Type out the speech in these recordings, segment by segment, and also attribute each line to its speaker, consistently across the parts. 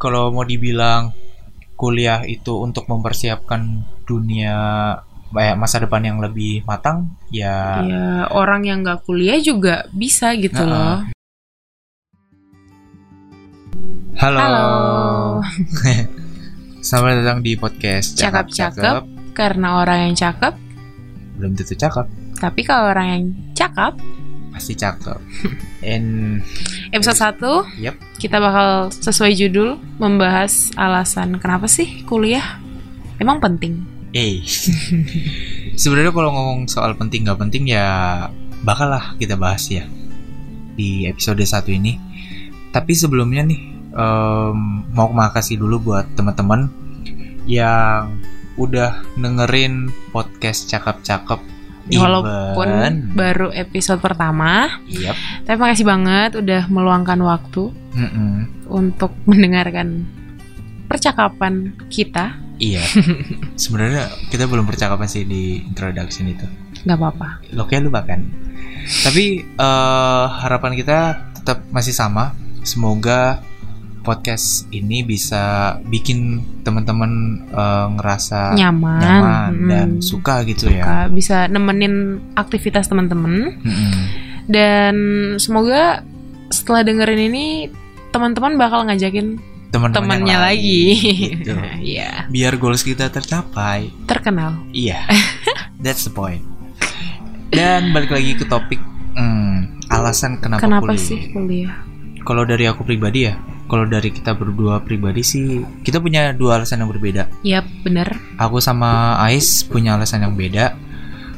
Speaker 1: kalau mau dibilang kuliah itu untuk mempersiapkan dunia kayak masa depan yang lebih matang ya
Speaker 2: ya orang yang nggak kuliah juga bisa gitu
Speaker 1: Nah,
Speaker 2: loh
Speaker 1: halo,
Speaker 2: halo
Speaker 1: selamat datang di podcast
Speaker 2: cakap cakep karena orang yang cakep
Speaker 1: belum tentu cakep
Speaker 2: tapi kalau orang yang cakep
Speaker 1: pasti cakep and
Speaker 2: episode 1
Speaker 1: Yap.
Speaker 2: kita bakal sesuai judul membahas alasan kenapa sih kuliah emang penting
Speaker 1: eh sebenarnya kalau ngomong soal penting nggak penting ya bakal lah kita bahas ya di episode satu ini tapi sebelumnya nih em, mau makasih dulu buat teman-teman yang udah dengerin podcast cakep-cakep Iya,
Speaker 2: Ya, walaupun
Speaker 1: even-
Speaker 2: baru episode pertama
Speaker 1: Yap.
Speaker 2: tapi makasih banget udah meluangkan waktu
Speaker 1: Mm-mm.
Speaker 2: untuk mendengarkan percakapan kita
Speaker 1: Iya. Sebenarnya kita belum percakapan sih di introduction itu.
Speaker 2: nggak apa-apa
Speaker 1: Lo kayak lupa kan? Tapi eh, harapan kita tetap masih sama. Semoga podcast ini bisa bikin teman-teman eh, ngerasa
Speaker 2: nyaman,
Speaker 1: nyaman dan
Speaker 2: Mm.
Speaker 1: suka gitu ya.
Speaker 2: Suka, bisa nemenin aktivitas teman-teman
Speaker 1: Mm-mm.
Speaker 2: dan semoga setelah dengerin ini teman-teman bakal ngajakin
Speaker 1: Teman-teman yang
Speaker 2: temannya
Speaker 1: lain,
Speaker 2: lagi.
Speaker 1: gitu.
Speaker 2: Iya,
Speaker 1: Biar goals kita tercapai.
Speaker 2: terkenal.
Speaker 1: Iya, that's the point. Dan balik lagi ke topik hmm, alasan kenapa,
Speaker 2: Kenapa
Speaker 1: kuliah.
Speaker 2: sih kuliah?
Speaker 1: Kalau dari aku pribadi ya, kalau dari kita berdua pribadi sih, kita punya dua alasan yang berbeda.
Speaker 2: Yap, bener.
Speaker 1: Aku sama Ais punya alasan yang beda.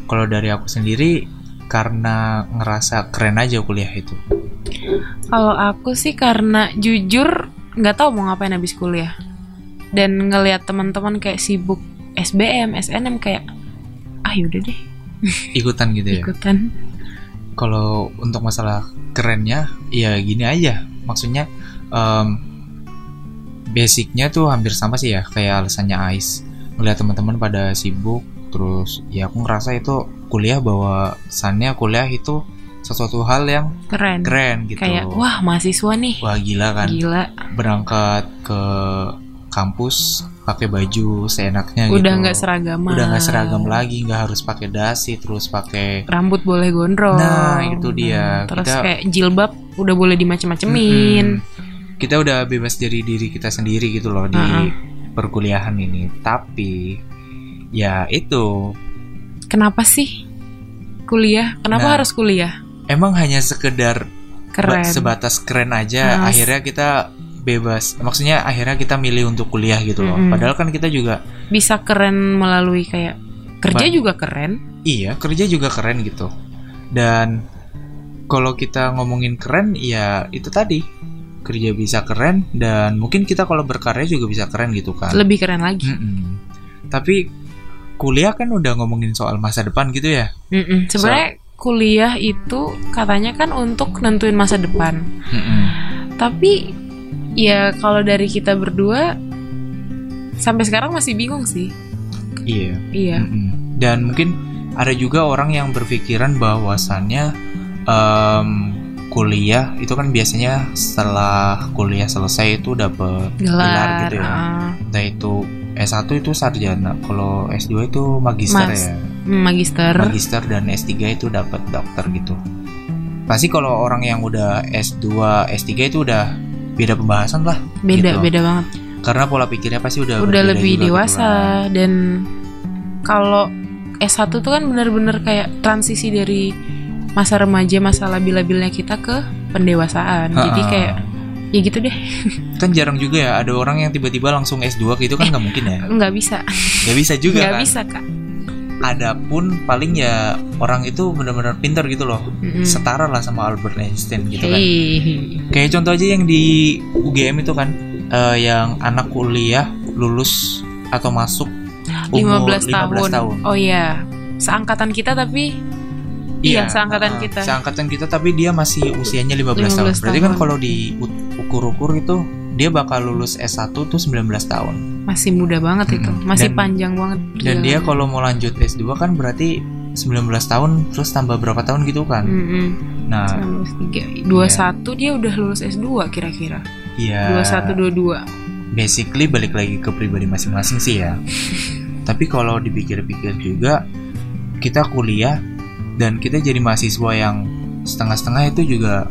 Speaker 1: Kalau dari aku sendiri, karena ngerasa keren aja kuliah itu.
Speaker 2: Kalau aku sih karena jujur nggak tahu mau ngapain habis kuliah dan ngelihat teman-teman kayak sibuk SBM, SNM kayak ah yaudah deh
Speaker 1: Ikutan gitu ya.
Speaker 2: ikutan.
Speaker 1: Kalau untuk masalah kerennya, ya gini aja. Maksudnya, em, basicnya tuh hampir sama sih ya, kayak alasannya Ais. Melihat teman-teman pada sibuk, terus ya aku ngerasa itu kuliah bahwasannya kuliah itu sesuatu hal yang
Speaker 2: Keren.
Speaker 1: keren gitu.
Speaker 2: Kayak wah mahasiswa nih.
Speaker 1: Wah, gila kan.
Speaker 2: Gila,
Speaker 1: Berangkat ke kampus pakai baju seenaknya gitu.
Speaker 2: udah nggak seragaman.
Speaker 1: Udah nggak seragam lagi, nggak harus pakai dasi, terus pakai
Speaker 2: Rambut boleh gondrong. Hmm,
Speaker 1: Nah, itu dia.
Speaker 2: Terus
Speaker 1: Kita-
Speaker 2: kayak jilbab udah boleh dimacem-macemin.
Speaker 1: Mm-mm. Kita udah bebas dari diri kita sendiri gitu loh di
Speaker 2: Uh-uh.
Speaker 1: perkuliahan ini. Tapi ya itu
Speaker 2: Kenapa sih kuliah? Kenapa
Speaker 1: Nah.
Speaker 2: harus kuliah?
Speaker 1: emang hanya sekedar ba-
Speaker 2: Keren.
Speaker 1: sebatas keren aja.
Speaker 2: Nah,
Speaker 1: Akhirnya kita bebas. Maksudnya akhirnya kita milih untuk kuliah gitu loh.
Speaker 2: Mm-mm.
Speaker 1: Padahal kan kita juga
Speaker 2: Bisa keren melalui kayak kerja
Speaker 1: Ba-
Speaker 2: juga keren.
Speaker 1: Iya, kerja juga keren gitu. Dan kalau kita ngomongin keren, ya itu tadi kerja bisa keren dan mungkin kita kalau berkarya juga bisa keren gitu kan.
Speaker 2: Lebih keren lagi.
Speaker 1: Mm-mm. Tapi kuliah kan udah ngomongin soal masa depan gitu ya.
Speaker 2: Mm-mm. Sebenarnya kuliah itu katanya kan untuk nentuin masa depan.
Speaker 1: Mm-mm.
Speaker 2: Tapi ya kalau dari kita berdua sampai sekarang masih bingung sih.
Speaker 1: Iya.
Speaker 2: Iya.
Speaker 1: Mm-mm. Dan mungkin ada juga orang yang berpikiran bahwasannya em, kuliah itu kan biasanya setelah kuliah selesai itu dapat
Speaker 2: Gelar.
Speaker 1: gitu ya.
Speaker 2: ah.
Speaker 1: Nah itu S1 itu sarjana, kalau S2 itu magister
Speaker 2: Mas-
Speaker 1: ya.
Speaker 2: magister
Speaker 1: Magister dan S3 itu dapat dokter gitu. Pasti kalau orang yang udah S2, S3 itu udah beda pembahasan lah. gitu.
Speaker 2: beda beda banget
Speaker 1: Karena pola pikirnya pasti udah
Speaker 2: udah
Speaker 1: berbeda
Speaker 2: lebih
Speaker 1: juga gitu kan.
Speaker 2: dewasa dan kalau S1 tuh kan bener-bener kayak transisi dari masa remaja masa labil-labilnya kita ke pendewasaan
Speaker 1: kebetulan.
Speaker 2: jadi
Speaker 1: Ha-ha.
Speaker 2: kayak ya gitu deh
Speaker 1: kan jarang juga ya ada orang yang tiba-tiba langsung S2 gitu kan nggak mungkin ya.
Speaker 2: nggak bisa
Speaker 1: Nggak bisa juga
Speaker 2: Eh, nggak
Speaker 1: kan.
Speaker 2: bisa kak
Speaker 1: Adapun paling ya orang itu benar-benar pinter gitu loh.
Speaker 2: Mm-mm.
Speaker 1: Setara lah sama Albert Einstein gitu kan.
Speaker 2: Hmm. Hei.
Speaker 1: Kayak contoh aja yang di UGM itu kan eh, yang anak kuliah lulus atau masuk umur
Speaker 2: 15, tahun.
Speaker 1: tahun.
Speaker 2: oh iya seangkatan kita tapi iya, seangkatan
Speaker 1: eh,
Speaker 2: kita.
Speaker 1: Seangkatan kita tapi dia masih usianya 15, tahun.
Speaker 2: 15
Speaker 1: Berarti kan
Speaker 2: tahun.
Speaker 1: kalau di ukur-ukur itu dia bakal lulus S1 tuh 19 tahun.
Speaker 2: masih muda banget itu
Speaker 1: Mm-mm.
Speaker 2: masih
Speaker 1: Dan-
Speaker 2: panjang banget
Speaker 1: Dan dia kalau mau lanjut S2 kan berarti 19 tahun terus tambah berapa tahun gitu
Speaker 2: Hmm.
Speaker 1: kan. Nah,
Speaker 2: dua satu dia udah lulus S 2 kira-kira
Speaker 1: iya.
Speaker 2: dua satu dua dua
Speaker 1: basically balik lagi ke pribadi masing-masing sih ya tapi kalau dipikir-pikir juga kita kuliah dan kita jadi mahasiswa yang setengah-setengah itu juga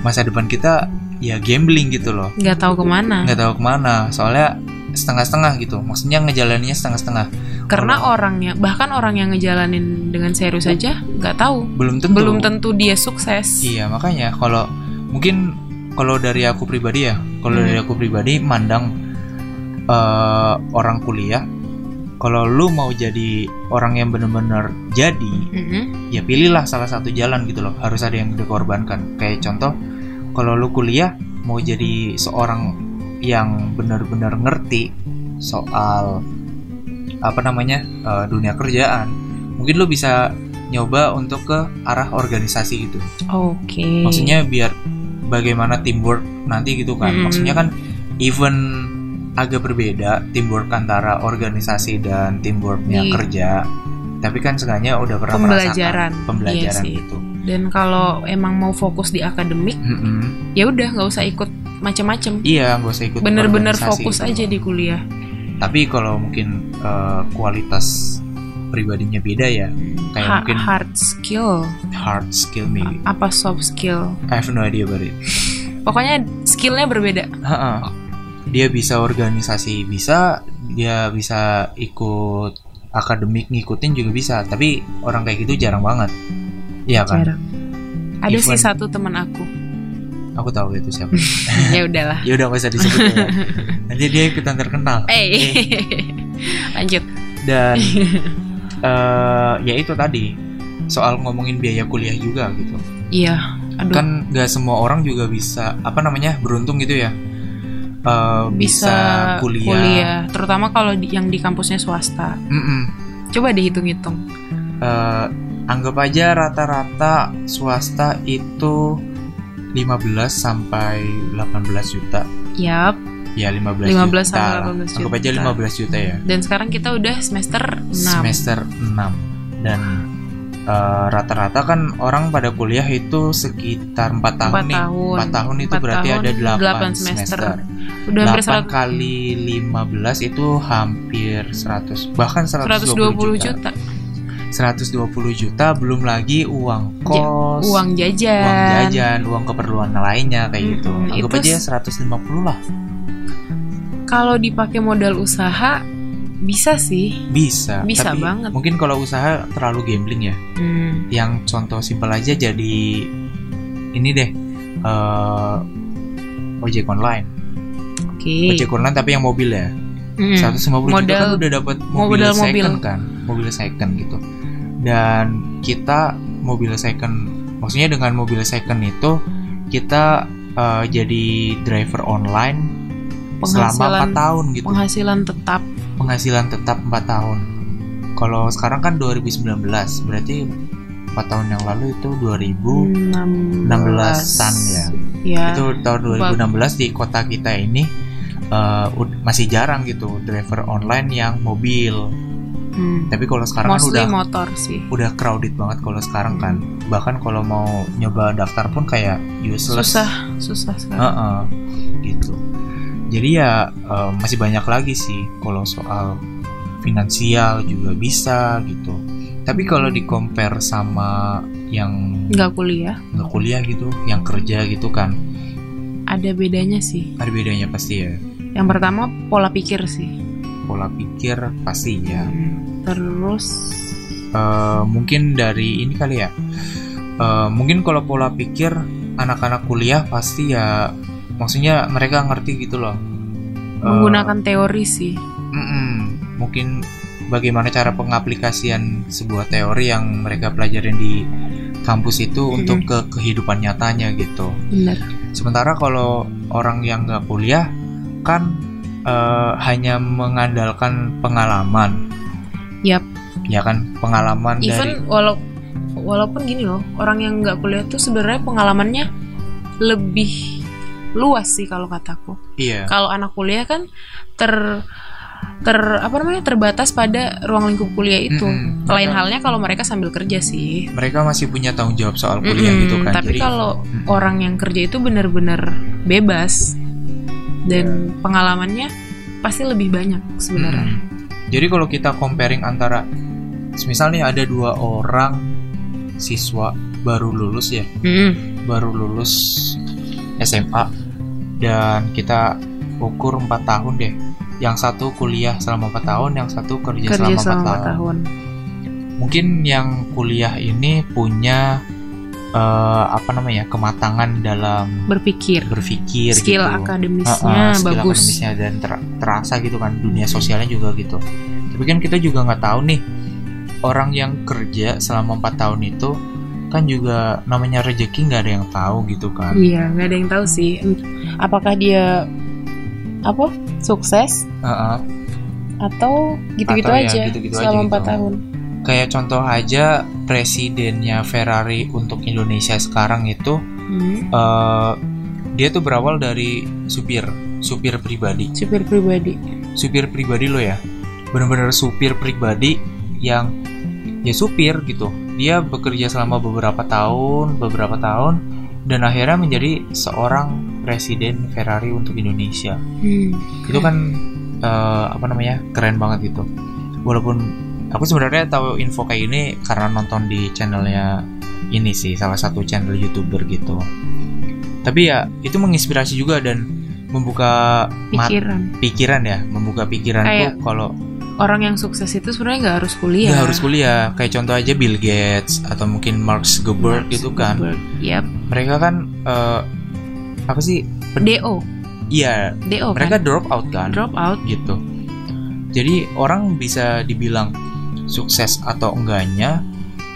Speaker 1: masa depan kita ya gambling gitu loh
Speaker 2: nggak tahu kemana
Speaker 1: nggak tahu kemana soalnya setengah-setengah gitu maksudnya ngejalaninnya setengah-setengah
Speaker 2: karena
Speaker 1: kalau-
Speaker 2: orangnya bahkan orang yang ngejalanin dengan serius aja nggak tahu
Speaker 1: belum tentu
Speaker 2: belum tentu dia sukses
Speaker 1: iya makanya kalau mungkin kalau dari aku pribadi ya kalau
Speaker 2: Hmm.
Speaker 1: dari aku pribadi mandang eh, orang kuliah kalau lu mau jadi orang yang bener-bener jadi
Speaker 2: Mm-mm.
Speaker 1: ya pilihlah salah satu jalan gitu loh harus ada yang dikorbankan kayak contoh kalau lu kuliah mau jadi seorang yang benar-benar ngerti soal apa namanya eh, dunia kerjaan mungkin lu bisa nyoba untuk ke arah organisasi gitu
Speaker 2: oke
Speaker 1: maksudnya biar bagaimana teamwork nanti gitu kan
Speaker 2: Mm.
Speaker 1: maksudnya kan even agak berbeda teamwork antara organisasi dan teamworknya
Speaker 2: Iya.
Speaker 1: kerja tapi kan seenggaknya udah pernah
Speaker 2: Pembelajaran.
Speaker 1: merasakan pembelajaran
Speaker 2: Iya sih.
Speaker 1: gitu
Speaker 2: dan kalau emang mau fokus di akademik
Speaker 1: Mm-mm.
Speaker 2: ya udah nggak usah ikut macam-macam
Speaker 1: iya gak usah ikut
Speaker 2: bener-bener
Speaker 1: organisasi
Speaker 2: fokus
Speaker 1: gitu.
Speaker 2: aja di kuliah
Speaker 1: tapi kalau mungkin eh, kualitas pribadinya beda ya kayak
Speaker 2: Ha-
Speaker 1: mungkin Iya.
Speaker 2: hard skill
Speaker 1: hard skill maybe
Speaker 2: apa soft skill
Speaker 1: I have no idea about it
Speaker 2: pokoknya skillnya berbeda
Speaker 1: Ha-ha. Ah, Dia bisa organisasi bisa, dia bisa ikut akademik ngikutin juga bisa, tapi orang kayak gitu jarang banget. Iya kan?
Speaker 2: jarang ada sih
Speaker 1: Even-
Speaker 2: satu teman aku
Speaker 1: Aku tahu itu siapa.
Speaker 2: ya udahlah
Speaker 1: ya udah gak usah disebut ya. Nanti dia ikutan terkenal. Eh,
Speaker 2: eh lanjut
Speaker 1: Dan eh, ya itu tadi soal ngomongin biaya kuliah juga gitu.
Speaker 2: iya aduh
Speaker 1: Kan gak semua orang juga bisa apa namanya beruntung gitu ya. Eh,
Speaker 2: bisa kuliah.
Speaker 1: kuliah.
Speaker 2: terutama kalau di- yang di kampusnya swasta
Speaker 1: Mm-mm.
Speaker 2: coba dihitung-hitung
Speaker 1: eh anggap aja rata-rata swasta itu 15 sampai 18 juta.
Speaker 2: yap
Speaker 1: Ya 15, juta.
Speaker 2: 15 sampai
Speaker 1: lah.
Speaker 2: 18
Speaker 1: Anggap aja
Speaker 2: juta.
Speaker 1: 15 juta ya.
Speaker 2: dan sekarang kita udah semester 6
Speaker 1: Semester 6 dan eh, rata-rata kan orang pada kuliah itu sekitar 4 tahun
Speaker 2: 4
Speaker 1: nih.
Speaker 2: tahun
Speaker 1: 4 tahun itu
Speaker 2: Empat
Speaker 1: berarti
Speaker 2: tahun,
Speaker 1: ada 8,
Speaker 2: delapan
Speaker 1: semester.
Speaker 2: semester. udah hampir
Speaker 1: 8
Speaker 2: 100
Speaker 1: kali 15 itu hampir 100 bahkan 120,
Speaker 2: 120
Speaker 1: juta.
Speaker 2: juta
Speaker 1: 120 juta belum lagi uang kos.
Speaker 2: Ya, uang jajan
Speaker 1: uang jajan, uang keperluan lainnya kayak gitu.
Speaker 2: Mm-mm,
Speaker 1: Anggap
Speaker 2: Hmm, itu
Speaker 1: aja 150 lah.
Speaker 2: kalau dipakai modal usaha bisa sih
Speaker 1: Bisa.
Speaker 2: Bisa
Speaker 1: Tapi
Speaker 2: banget.
Speaker 1: Mungkin kalau usaha terlalu gambling ya.
Speaker 2: Hmm,
Speaker 1: Yang contoh simpel aja jadi ini deh. eh, ojek online.
Speaker 2: oke
Speaker 1: Ojek online tapi yang mobil ya.
Speaker 2: Hmm,
Speaker 1: 150 juta kan
Speaker 2: Modal-
Speaker 1: udah dapat mobil,
Speaker 2: modal
Speaker 1: second
Speaker 2: mobil.
Speaker 1: kan. Mobil second gitu. Dan kita mobil second maksudnya dengan mobil second itu kita eh, jadi driver online selama 4
Speaker 2: penghasilan
Speaker 1: tahun gitu.
Speaker 2: penghasilan tetap
Speaker 1: penghasilan tetap 4 tahun. Kalau sekarang kan 2019, berarti 4 tahun yang lalu itu 2000
Speaker 2: 16-an
Speaker 1: 16-an ya.
Speaker 2: ya
Speaker 1: itu tahun 2016 di kota kita ini eh, ud- masih jarang gitu driver online yang mobil.
Speaker 2: hmm.
Speaker 1: Tapi kalau sekarang kan
Speaker 2: mostly
Speaker 1: udah
Speaker 2: motor sih
Speaker 1: udah crowded banget kalau sekarang kan. Bahkan kalau mau nyoba daftar pun kayak useless.
Speaker 2: susah susah sekali
Speaker 1: Heeh, gitu. Jadi ya eh, masih banyak lagi sih kalau soal finansial juga bisa gitu. Tapi kalau di compare sama yang
Speaker 2: nggak kuliah
Speaker 1: nggak kuliah gitu, yang kerja gitu kan,
Speaker 2: ada bedanya sih
Speaker 1: ada bedanya pasti ya.
Speaker 2: yang pertama pola pikir sih
Speaker 1: Pola pikir pasti ya.
Speaker 2: Hmm. terus
Speaker 1: Eh, mungkin dari ini kali ya. Eh, mungkin kalau pola pikir anak-anak kuliah pasti ya, maksudnya mereka ngerti gitu loh. Eh,
Speaker 2: menggunakan teori sih
Speaker 1: Mm-mm. mungkin bagaimana cara pengaplikasian sebuah teori yang mereka pelajarin di kampus itu untuk ke kehidupan nyatanya gitu.
Speaker 2: bener
Speaker 1: Sementara kalau orang yang nggak kuliah kan eh, hanya mengandalkan pengalaman,
Speaker 2: Yap.
Speaker 1: ya kan pengalaman dari
Speaker 2: even walau walaupun gini loh orang yang nggak kuliah tuh sebenarnya pengalamannya lebih luas sih kalau kataku
Speaker 1: iya
Speaker 2: kalau anak kuliah kan ter ter apa namanya terbatas pada ruang lingkup kuliah itu
Speaker 1: Mm-mm.
Speaker 2: lain
Speaker 1: Mereka-
Speaker 2: halnya kalau mereka sambil kerja sih
Speaker 1: mereka masih punya tanggung jawab soal kuliah
Speaker 2: Mm-mm,
Speaker 1: gitu kan. Jadi
Speaker 2: tapi kalau
Speaker 1: Mm-mm.
Speaker 2: orang yang kerja itu benar-benar
Speaker 1: Iya.
Speaker 2: bebas dan pengalamannya pasti lebih banyak sebenarnya.
Speaker 1: Mm. Jadi kalau kita comparing antara misal nih ada dua orang siswa baru lulus ya,
Speaker 2: Mm-mm.
Speaker 1: baru lulus SMA dan kita ukur 4 tahun deh. Yang satu kuliah selama 4 tahun, yang satu kerja,
Speaker 2: Kerja
Speaker 1: Ya, selama 4
Speaker 2: selama
Speaker 1: tahun.
Speaker 2: tahun.
Speaker 1: Mungkin yang kuliah ini punya eh, apa namanya? kematangan dalam
Speaker 2: Berpikir,
Speaker 1: berpikir
Speaker 2: skill
Speaker 1: gitu.
Speaker 2: akademisnya
Speaker 1: Heeh, skill
Speaker 2: bagus.
Speaker 1: akademisnya dan ter- terasa gitu kan dunia sosialnya juga gitu tapi kan kita juga nggak tahu nih orang yang kerja selama empat tahun itu kan juga namanya rezeki nggak ada yang tahu gitu kan
Speaker 2: Iya, nggak ada yang tahu sih. Ent- Apakah dia apa sukses
Speaker 1: Heeh.
Speaker 2: atau gitu-gitu
Speaker 1: Atau ya,
Speaker 2: aja
Speaker 1: gitu-gitu aja
Speaker 2: selama
Speaker 1: gitu.
Speaker 2: empat tahun?
Speaker 1: kayak contoh aja presidennya Ferrari untuk Indonesia sekarang itu
Speaker 2: Hmm,
Speaker 1: eh, dia tuh berawal dari supir supir pribadi
Speaker 2: supir pribadi.
Speaker 1: supir pribadi lo ya bener-bener supir pribadi yang ya supir gitu dia bekerja selama beberapa tahun beberapa tahun dan akhirnya menjadi seorang presiden Ferrari untuk Indonesia
Speaker 2: Hmm,
Speaker 1: itu kan eh, apa namanya keren banget gitu walaupun aku sebenarnya tahu info kayak ini karena nonton di channelnya ini sih salah satu channel youtuber gitu tapi ya itu menginspirasi juga dan membuka mata
Speaker 2: pikiran.
Speaker 1: pikiran ya membuka pikiran
Speaker 2: Kayak- iya.
Speaker 1: tuh kalau
Speaker 2: Orang yang sukses itu sebenarnya nggak harus
Speaker 1: nggak
Speaker 2: kuliah.
Speaker 1: harus kuliah kayak contoh aja Bill Gates atau mungkin Mark Zuckerberg gitu kan
Speaker 2: Zuckerberg. Yap.
Speaker 1: mereka kan eh, apa sih
Speaker 2: Do,
Speaker 1: iya
Speaker 2: do
Speaker 1: mereka
Speaker 2: kan.
Speaker 1: drop out kan
Speaker 2: Drop out.
Speaker 1: gitu jadi orang bisa dibilang sukses atau enggaknya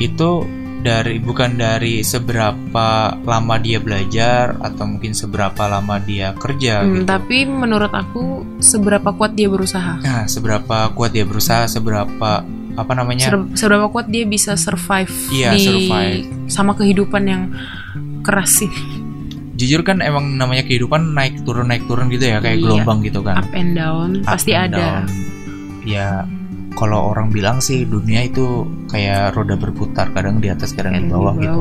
Speaker 1: itu dari bukan dari seberapa lama dia belajar atau mungkin seberapa lama dia kerja
Speaker 2: Hmm,
Speaker 1: gitu
Speaker 2: Tapi menurut aku seberapa kuat dia berusaha,
Speaker 1: nah seberapa kuat dia berusaha seberapa apa namanya
Speaker 2: Ser- seberapa kuat dia bisa survive
Speaker 1: Ya. Iya,
Speaker 2: di
Speaker 1: survive.
Speaker 2: sama kehidupan yang keras sih,
Speaker 1: jujur kan emang namanya kehidupan naik turun naik turun gitu ya kayak
Speaker 2: Iya.
Speaker 1: gelombang gitu kan
Speaker 2: up and down
Speaker 1: Up
Speaker 2: pasti
Speaker 1: and
Speaker 2: ada.
Speaker 1: down. ya kalau orang bilang sih dunia itu kayak roda berputar kadang di atas kadang di
Speaker 2: Yang
Speaker 1: bawah gitu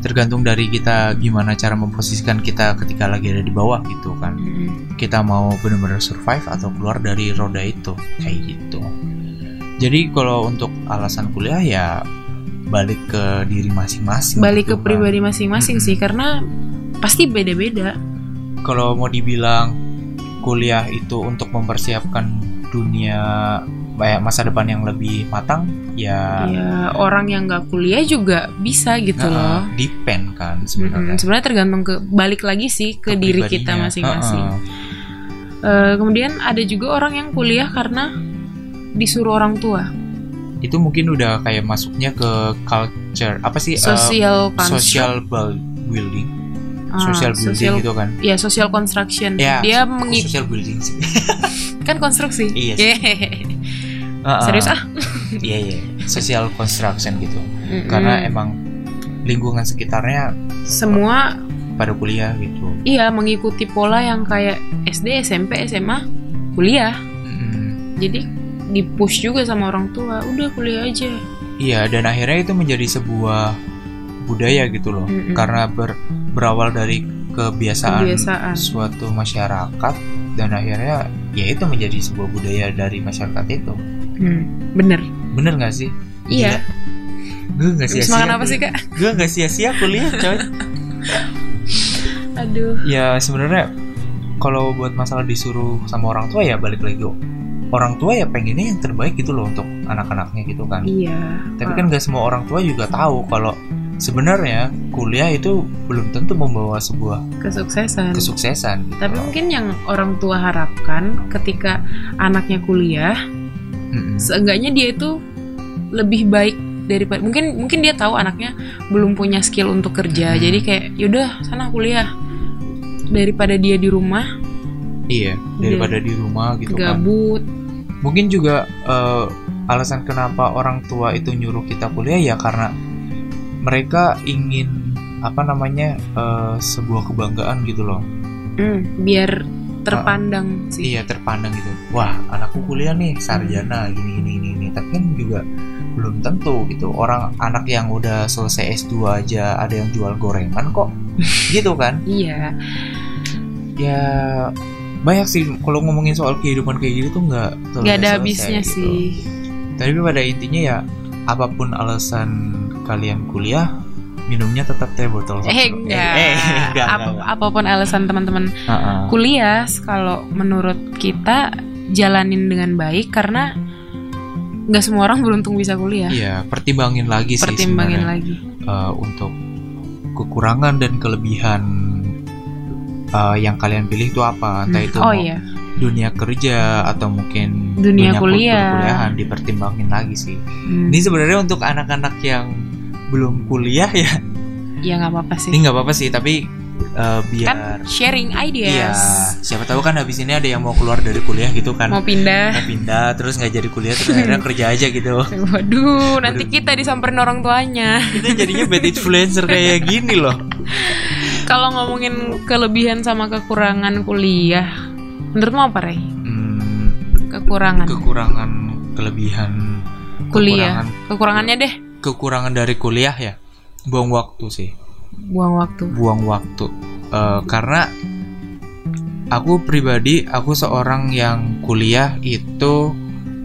Speaker 1: tergantung dari kita gimana cara memposisikan kita ketika lagi ada di bawah gitu kan
Speaker 2: Mm.
Speaker 1: kita mau benar-benar survive atau keluar dari roda itu kayak gitu jadi kalau untuk alasan kuliah ya balik ke diri masing-masing
Speaker 2: Balik ke
Speaker 1: gitu kan.
Speaker 2: pribadi masing-masing
Speaker 1: Mm.
Speaker 2: sih karena pasti beda-beda.
Speaker 1: kalau mau dibilang kuliah itu untuk mempersiapkan dunia kayak masa depan yang lebih matang ya
Speaker 2: Ya orang yang nggak kuliah juga bisa gitu
Speaker 1: nah,
Speaker 2: loh.
Speaker 1: depend kan
Speaker 2: Mm-mm.
Speaker 1: sebenarnya
Speaker 2: Sebenarnya tergantung ke balik lagi sih Mm-hmm. ke diri kita
Speaker 1: Kepribadinya.
Speaker 2: masing-masing.
Speaker 1: Heeh. ah.
Speaker 2: Eh, kemudian ada juga orang yang kuliah karena disuruh orang tua,
Speaker 1: itu mungkin udah kayak masuknya ke culture apa sih eh,
Speaker 2: social construct,
Speaker 1: social bul- building
Speaker 2: Ah,
Speaker 1: social building
Speaker 2: social-
Speaker 1: gitu kan
Speaker 2: ya social construction.
Speaker 1: Ya,
Speaker 2: Dia
Speaker 1: kok
Speaker 2: mengik
Speaker 1: social building sih
Speaker 2: kan konstruksi.
Speaker 1: Iya sih.
Speaker 2: Yeay.
Speaker 1: Heeh.
Speaker 2: Serius ah?
Speaker 1: iya iya social construction gitu karena
Speaker 2: Mm-mm.
Speaker 1: emang lingkungan sekitarnya
Speaker 2: semua
Speaker 1: pada kuliah gitu
Speaker 2: iya mengikuti pola yang kayak SD, SMP, SMA, kuliah.
Speaker 1: Mm-mm.
Speaker 2: jadi di push juga sama orang tua udah kuliah aja
Speaker 1: Iya, dan akhirnya itu menjadi sebuah budaya gitu loh.
Speaker 2: Mm-mm.
Speaker 1: Karena ber- berawal dari kebiasaan,
Speaker 2: Kebiasaan.
Speaker 1: suatu masyarakat dan akhirnya ya itu menjadi sebuah budaya dari masyarakat itu.
Speaker 2: hmm, bener
Speaker 1: Bener nggak sih?
Speaker 2: Iya.
Speaker 1: Gue nggak
Speaker 2: Habis
Speaker 1: sia-sia.
Speaker 2: makan apa sih kak
Speaker 1: Gue nggak sia-sia kuliah, coy.
Speaker 2: aduh
Speaker 1: ya sebenarnya kalau buat masalah disuruh sama orang tua ya balik lagi. Orang tua ya pengennya yang terbaik gitu loh untuk anak-anaknya gitu kan.
Speaker 2: iya
Speaker 1: Tapi kan gak semua orang tua juga tahu kalau sebenarnya kuliah itu belum tentu membawa sebuah
Speaker 2: kesuksesan
Speaker 1: kesuksesan. gitu
Speaker 2: tapi
Speaker 1: loh.
Speaker 2: mungkin yang orang tua harapkan ketika anaknya kuliah
Speaker 1: Mm-mm.
Speaker 2: seenggaknya dia itu lebih baik daripada mungkin mungkin dia tahu anaknya belum punya skill untuk kerja
Speaker 1: Hmm.
Speaker 2: jadi kayak yaudah sana kuliah daripada dia di rumah
Speaker 1: iya daripada di rumah gitu kan.
Speaker 2: gabut
Speaker 1: Mungkin juga eh, alasan kenapa orang tua itu nyuruh kita kuliah ya karena mereka ingin apa namanya eh, sebuah kebanggaan gitu loh.
Speaker 2: Hmm, biar terpandang sih
Speaker 1: Iya terpandang gitu. Wah anakku kuliah nih sarjana gini gini gini, gini. Tapi kan juga belum tentu gitu. Orang anak yang udah Iya. selesai S2 aja ada yang jual gorengan kok. gitu kan?
Speaker 2: iya
Speaker 1: ya banyak sih kalau ngomongin soal kehidupan kayak gitu tuh nggak terlalu
Speaker 2: nggak ada
Speaker 1: selesai
Speaker 2: habisnya
Speaker 1: gitu.
Speaker 2: sih
Speaker 1: tapi pada intinya ya apapun alasan kalian kuliah minumnya tetap teh botol
Speaker 2: eh
Speaker 1: Eh,
Speaker 2: enggak,
Speaker 1: eh, enggak,
Speaker 2: Apa-
Speaker 1: enggak.
Speaker 2: apapun alasan teman-teman
Speaker 1: Ha-ha.
Speaker 2: kuliah kalau menurut kita jalanin dengan baik karena nggak semua orang beruntung bisa kuliah
Speaker 1: Iya, pertimbangin lagi sih
Speaker 2: pertimbangin lagi
Speaker 1: eh, untuk kekurangan dan kelebihan eh, yang kalian pilih itu apa entah itu mau
Speaker 2: oh iya
Speaker 1: dunia kerja atau mungkin
Speaker 2: Dunia
Speaker 1: kultur
Speaker 2: kuliah.
Speaker 1: kuliahan dipertimbangin lagi sih
Speaker 2: Hmm,
Speaker 1: ini sebenarnya untuk anak-anak yang belum kuliah ya
Speaker 2: ya nggak apa-apa sih
Speaker 1: ini nggak apa-apa sih tapi eh, biar
Speaker 2: kan sharing
Speaker 1: iya
Speaker 2: ideas
Speaker 1: siapa tahu kan habis ini ada yang mau keluar dari kuliah gitu kan
Speaker 2: mau pindah
Speaker 1: Mau pindah terus nggak jadi kuliah terus akhirnya kerja aja gitu
Speaker 2: waduh nanti
Speaker 1: Waduh.
Speaker 2: kita disamperin orang tuanya
Speaker 1: kita jadinya bad influencer kayak gini loh
Speaker 2: kalau ngomongin kelebihan sama kekurangan kuliah menurutmu apa Rey
Speaker 1: Hmm,
Speaker 2: kekurangan
Speaker 1: kekurangan kelebihan
Speaker 2: kuliah
Speaker 1: kekurangan-
Speaker 2: kekurangannya deh
Speaker 1: kekurangan dari kuliah ya buang waktu sih
Speaker 2: buang waktu
Speaker 1: buang waktu Eh, karena aku pribadi aku seorang yang kuliah itu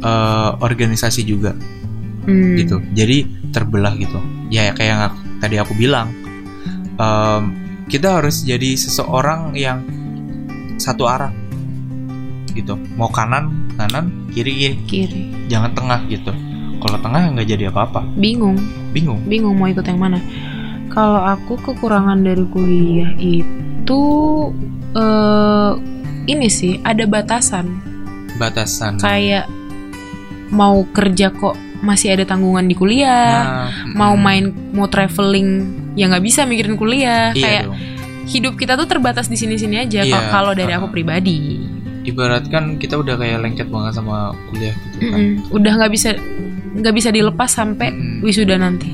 Speaker 1: eh, organisasi juga
Speaker 2: Hmm.
Speaker 1: gitu jadi terbelah gitu ya kayak yang aku- tadi aku bilang em, kita harus jadi seseorang yang satu arah gitu mau kanan kanan kiri kiri
Speaker 2: kiri
Speaker 1: jangan tengah gitu kalau tengah nggak jadi apa-apa
Speaker 2: bingung
Speaker 1: bingung
Speaker 2: bingung mau ikut yang mana. Kalau aku kekurangan dari kuliah itu eh ini sih ada batasan.
Speaker 1: batasan
Speaker 2: Kayak mau kerja kok masih ada tanggungan di kuliah.
Speaker 1: Nah,
Speaker 2: Mau
Speaker 1: mm,
Speaker 2: main, mau traveling ya nggak bisa mikirin kuliah.
Speaker 1: iya
Speaker 2: kayak
Speaker 1: dong.
Speaker 2: hidup kita tuh terbatas di sini-sini aja.
Speaker 1: Iya,
Speaker 2: Kalau- Kalau dari aku
Speaker 1: uh-uh.
Speaker 2: pribadi,
Speaker 1: ibaratkan kita udah kayak lengket banget sama kuliah gitu kan
Speaker 2: Mm-mm. udah nggak bisa nggak bisa dilepas sampai
Speaker 1: Mm.
Speaker 2: wisuda nanti.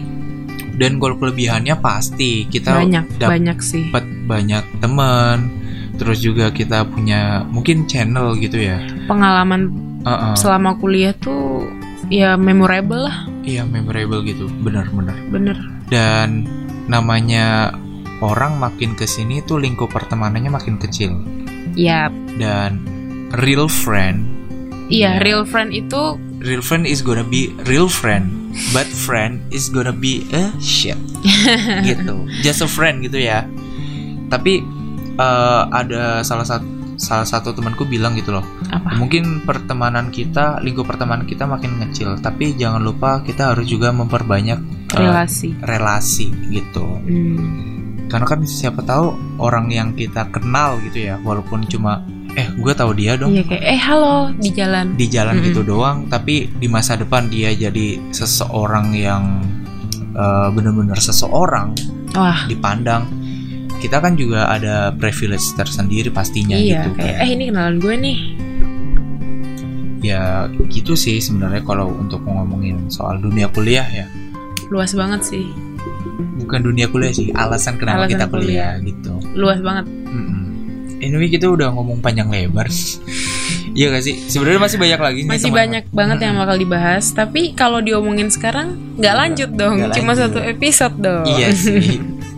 Speaker 1: dan kalau kelebihannya pasti kita
Speaker 2: Banyak
Speaker 1: dap-
Speaker 2: banyak sih.
Speaker 1: dapat banyak teman terus juga kita punya mungkin channel gitu ya
Speaker 2: Pengalaman
Speaker 1: Heeh.
Speaker 2: selama kuliah tuh ya memorable lah
Speaker 1: iya memorable gitu benar-benar
Speaker 2: bener
Speaker 1: dan namanya orang makin kesini tuh lingkup pertemanannya makin kecil Iya.
Speaker 2: ya
Speaker 1: dan real friend
Speaker 2: iya
Speaker 1: Iya.
Speaker 2: real friend itu
Speaker 1: real friend is gonna be real friend but friend is gonna be a shit gitu just a friend gitu ya tapi eh, ada salah satu salah satu temanku bilang gitu loh
Speaker 2: apa
Speaker 1: mungkin pertemanan kita lingkup pertemanan kita makin kecil tapi jangan lupa kita harus juga memperbanyak eh,
Speaker 2: relasi
Speaker 1: relasi gitu
Speaker 2: Hmm,
Speaker 1: karena kan siapa tahu orang yang kita kenal gitu ya walaupun cuma eh gue tahu dia dong
Speaker 2: iya kayak eh halo di jalan
Speaker 1: di jalan
Speaker 2: Mm-mm.
Speaker 1: gitu doang tapi di masa depan dia jadi seseorang yang eh, bener-bener seseorang
Speaker 2: wah
Speaker 1: dipandang kita kan juga ada privilege tersendiri pastinya
Speaker 2: iya
Speaker 1: gitu kan.
Speaker 2: kayak eh ini kenalan gue nih
Speaker 1: ya gitu sih sebenarnya kalau untuk ngomongin soal dunia kuliah ya
Speaker 2: luas banget sih
Speaker 1: bukan dunia kuliah sih alasan kenapa
Speaker 2: Alasan
Speaker 1: kita kuliah, gitu
Speaker 2: luas banget
Speaker 1: Mm-mm. anyway kita udah ngomong panjang lebar iya gak sih sebenarnya masih banyak lagi nih
Speaker 2: masih
Speaker 1: teman-teman.
Speaker 2: banyak banget yang bakal dibahas tapi kalau diomongin sekarang nggak lanjut dong
Speaker 1: Hmm. Nggak
Speaker 2: cuma
Speaker 1: lanjut.
Speaker 2: satu episode dong
Speaker 1: Iya sih.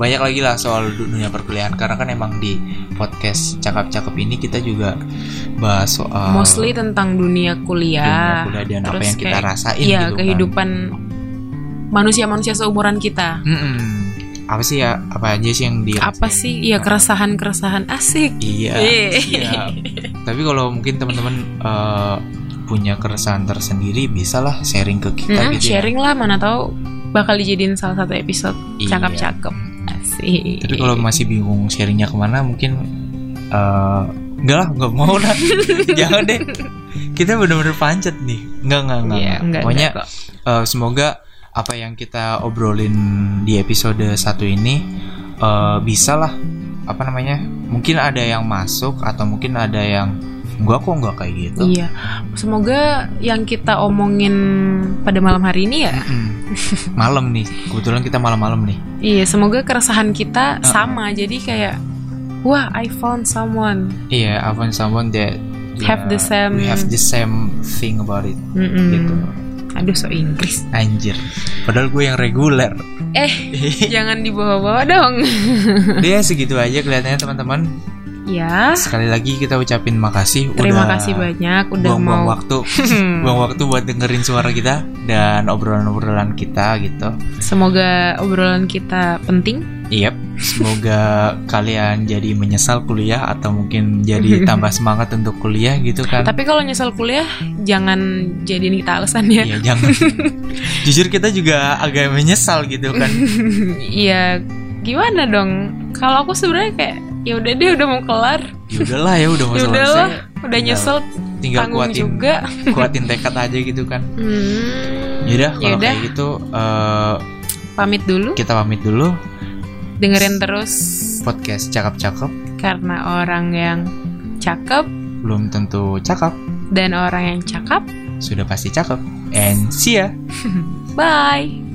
Speaker 1: Banyak lagi lah soal dunia perkuliahan karena kan emang di podcast cakap-cakap ini kita juga bahas soal
Speaker 2: mostly tentang dunia
Speaker 1: dunia
Speaker 2: kuliah
Speaker 1: kuliah dan apa
Speaker 2: terus
Speaker 1: yang kita
Speaker 2: kayak-
Speaker 1: rasain
Speaker 2: iya
Speaker 1: gitu kan.
Speaker 2: kehidupan manusia-manusia seumuran kita
Speaker 1: Mm-mm. Apa sih ya? Apa aja sih yang di
Speaker 2: apa sih ya keresahan keresahan asik
Speaker 1: Iya.
Speaker 2: Iya.
Speaker 1: siap. Tapi kalau mungkin teman-teman eh, punya keresahan tersendiri bisalah sharing ke kita
Speaker 2: Mm-mm,
Speaker 1: gitu ya.
Speaker 2: sharing lah mana tahu bakal dijadiin salah satu episode
Speaker 1: Iya.
Speaker 2: cakep cakep asik
Speaker 1: Tapi kalau masih bingung sharingnya kemana, mungkin eh enggak lah, nggak mau lah, jangan deh. Kita bener-bener pancet nih, enggak enggak enggak.
Speaker 2: Iya, enggak,
Speaker 1: Pokoknya
Speaker 2: enggak kok.
Speaker 1: eh, semoga apa yang kita obrolin di episode satu ini eh bisa lah apa namanya? Mungkin ada yang masuk atau mungkin ada yang gua kok nggak kayak gitu.
Speaker 2: iya semoga yang kita omongin pada malam hari ini ya
Speaker 1: Mm-mm. malam nih, kebetulan kita malam-malam nih.
Speaker 2: iya semoga keresahan kita
Speaker 1: Uh-uh.
Speaker 2: sama jadi kayak wah I found someone
Speaker 1: Iya, I found someone that
Speaker 2: Have the same-
Speaker 1: we have the same thing about it
Speaker 2: Mm-mm.
Speaker 1: gitu.
Speaker 2: aduh so Inggris
Speaker 1: Anjir. Padahal gue yang reguler.
Speaker 2: eh jangan dibawa-bawa dong
Speaker 1: Dia segitu aja kelihatannya teman-teman.
Speaker 2: Ya,
Speaker 1: Sekali lagi kita ucapin makasih
Speaker 2: terima
Speaker 1: udah
Speaker 2: kasih banyak udah
Speaker 1: buang-buang
Speaker 2: mau
Speaker 1: waktu buang waktu buat dengerin suara kita dan obrolan-obrolan kita gitu.
Speaker 2: Semoga obrolan kita penting.
Speaker 1: Yep, semoga kalian jadi menyesal kuliah atau mungkin jadi tambah semangat untuk kuliah gitu kan.
Speaker 2: Tapi kalau nyesel kuliah jangan jadiin kita alasan ya.
Speaker 1: Iya, jangan. Jujur kita juga agak menyesal gitu kan.
Speaker 2: Iya, gimana dong? Kalau aku sebenarnya kayak ya udah deh udah mau kelar.
Speaker 1: Ya udahlah ya udah mau
Speaker 2: Ya
Speaker 1: selesai.
Speaker 2: udahlah, udah nyesel
Speaker 1: Tinggal
Speaker 2: tanggung
Speaker 1: kuatin
Speaker 2: juga.
Speaker 1: kuatin tekad aja gitu kan.
Speaker 2: Hmm.
Speaker 1: Yaudah kalau
Speaker 2: Yaudah,
Speaker 1: kayak gitu eh,
Speaker 2: pamit dulu.
Speaker 1: kita pamit dulu
Speaker 2: Dengerin terus
Speaker 1: podcast cakap-cakap
Speaker 2: karena orang yang cakep
Speaker 1: belum tentu cakap
Speaker 2: dan orang yang cakap.
Speaker 1: sudah pasti cakep and see ya.
Speaker 2: Bye.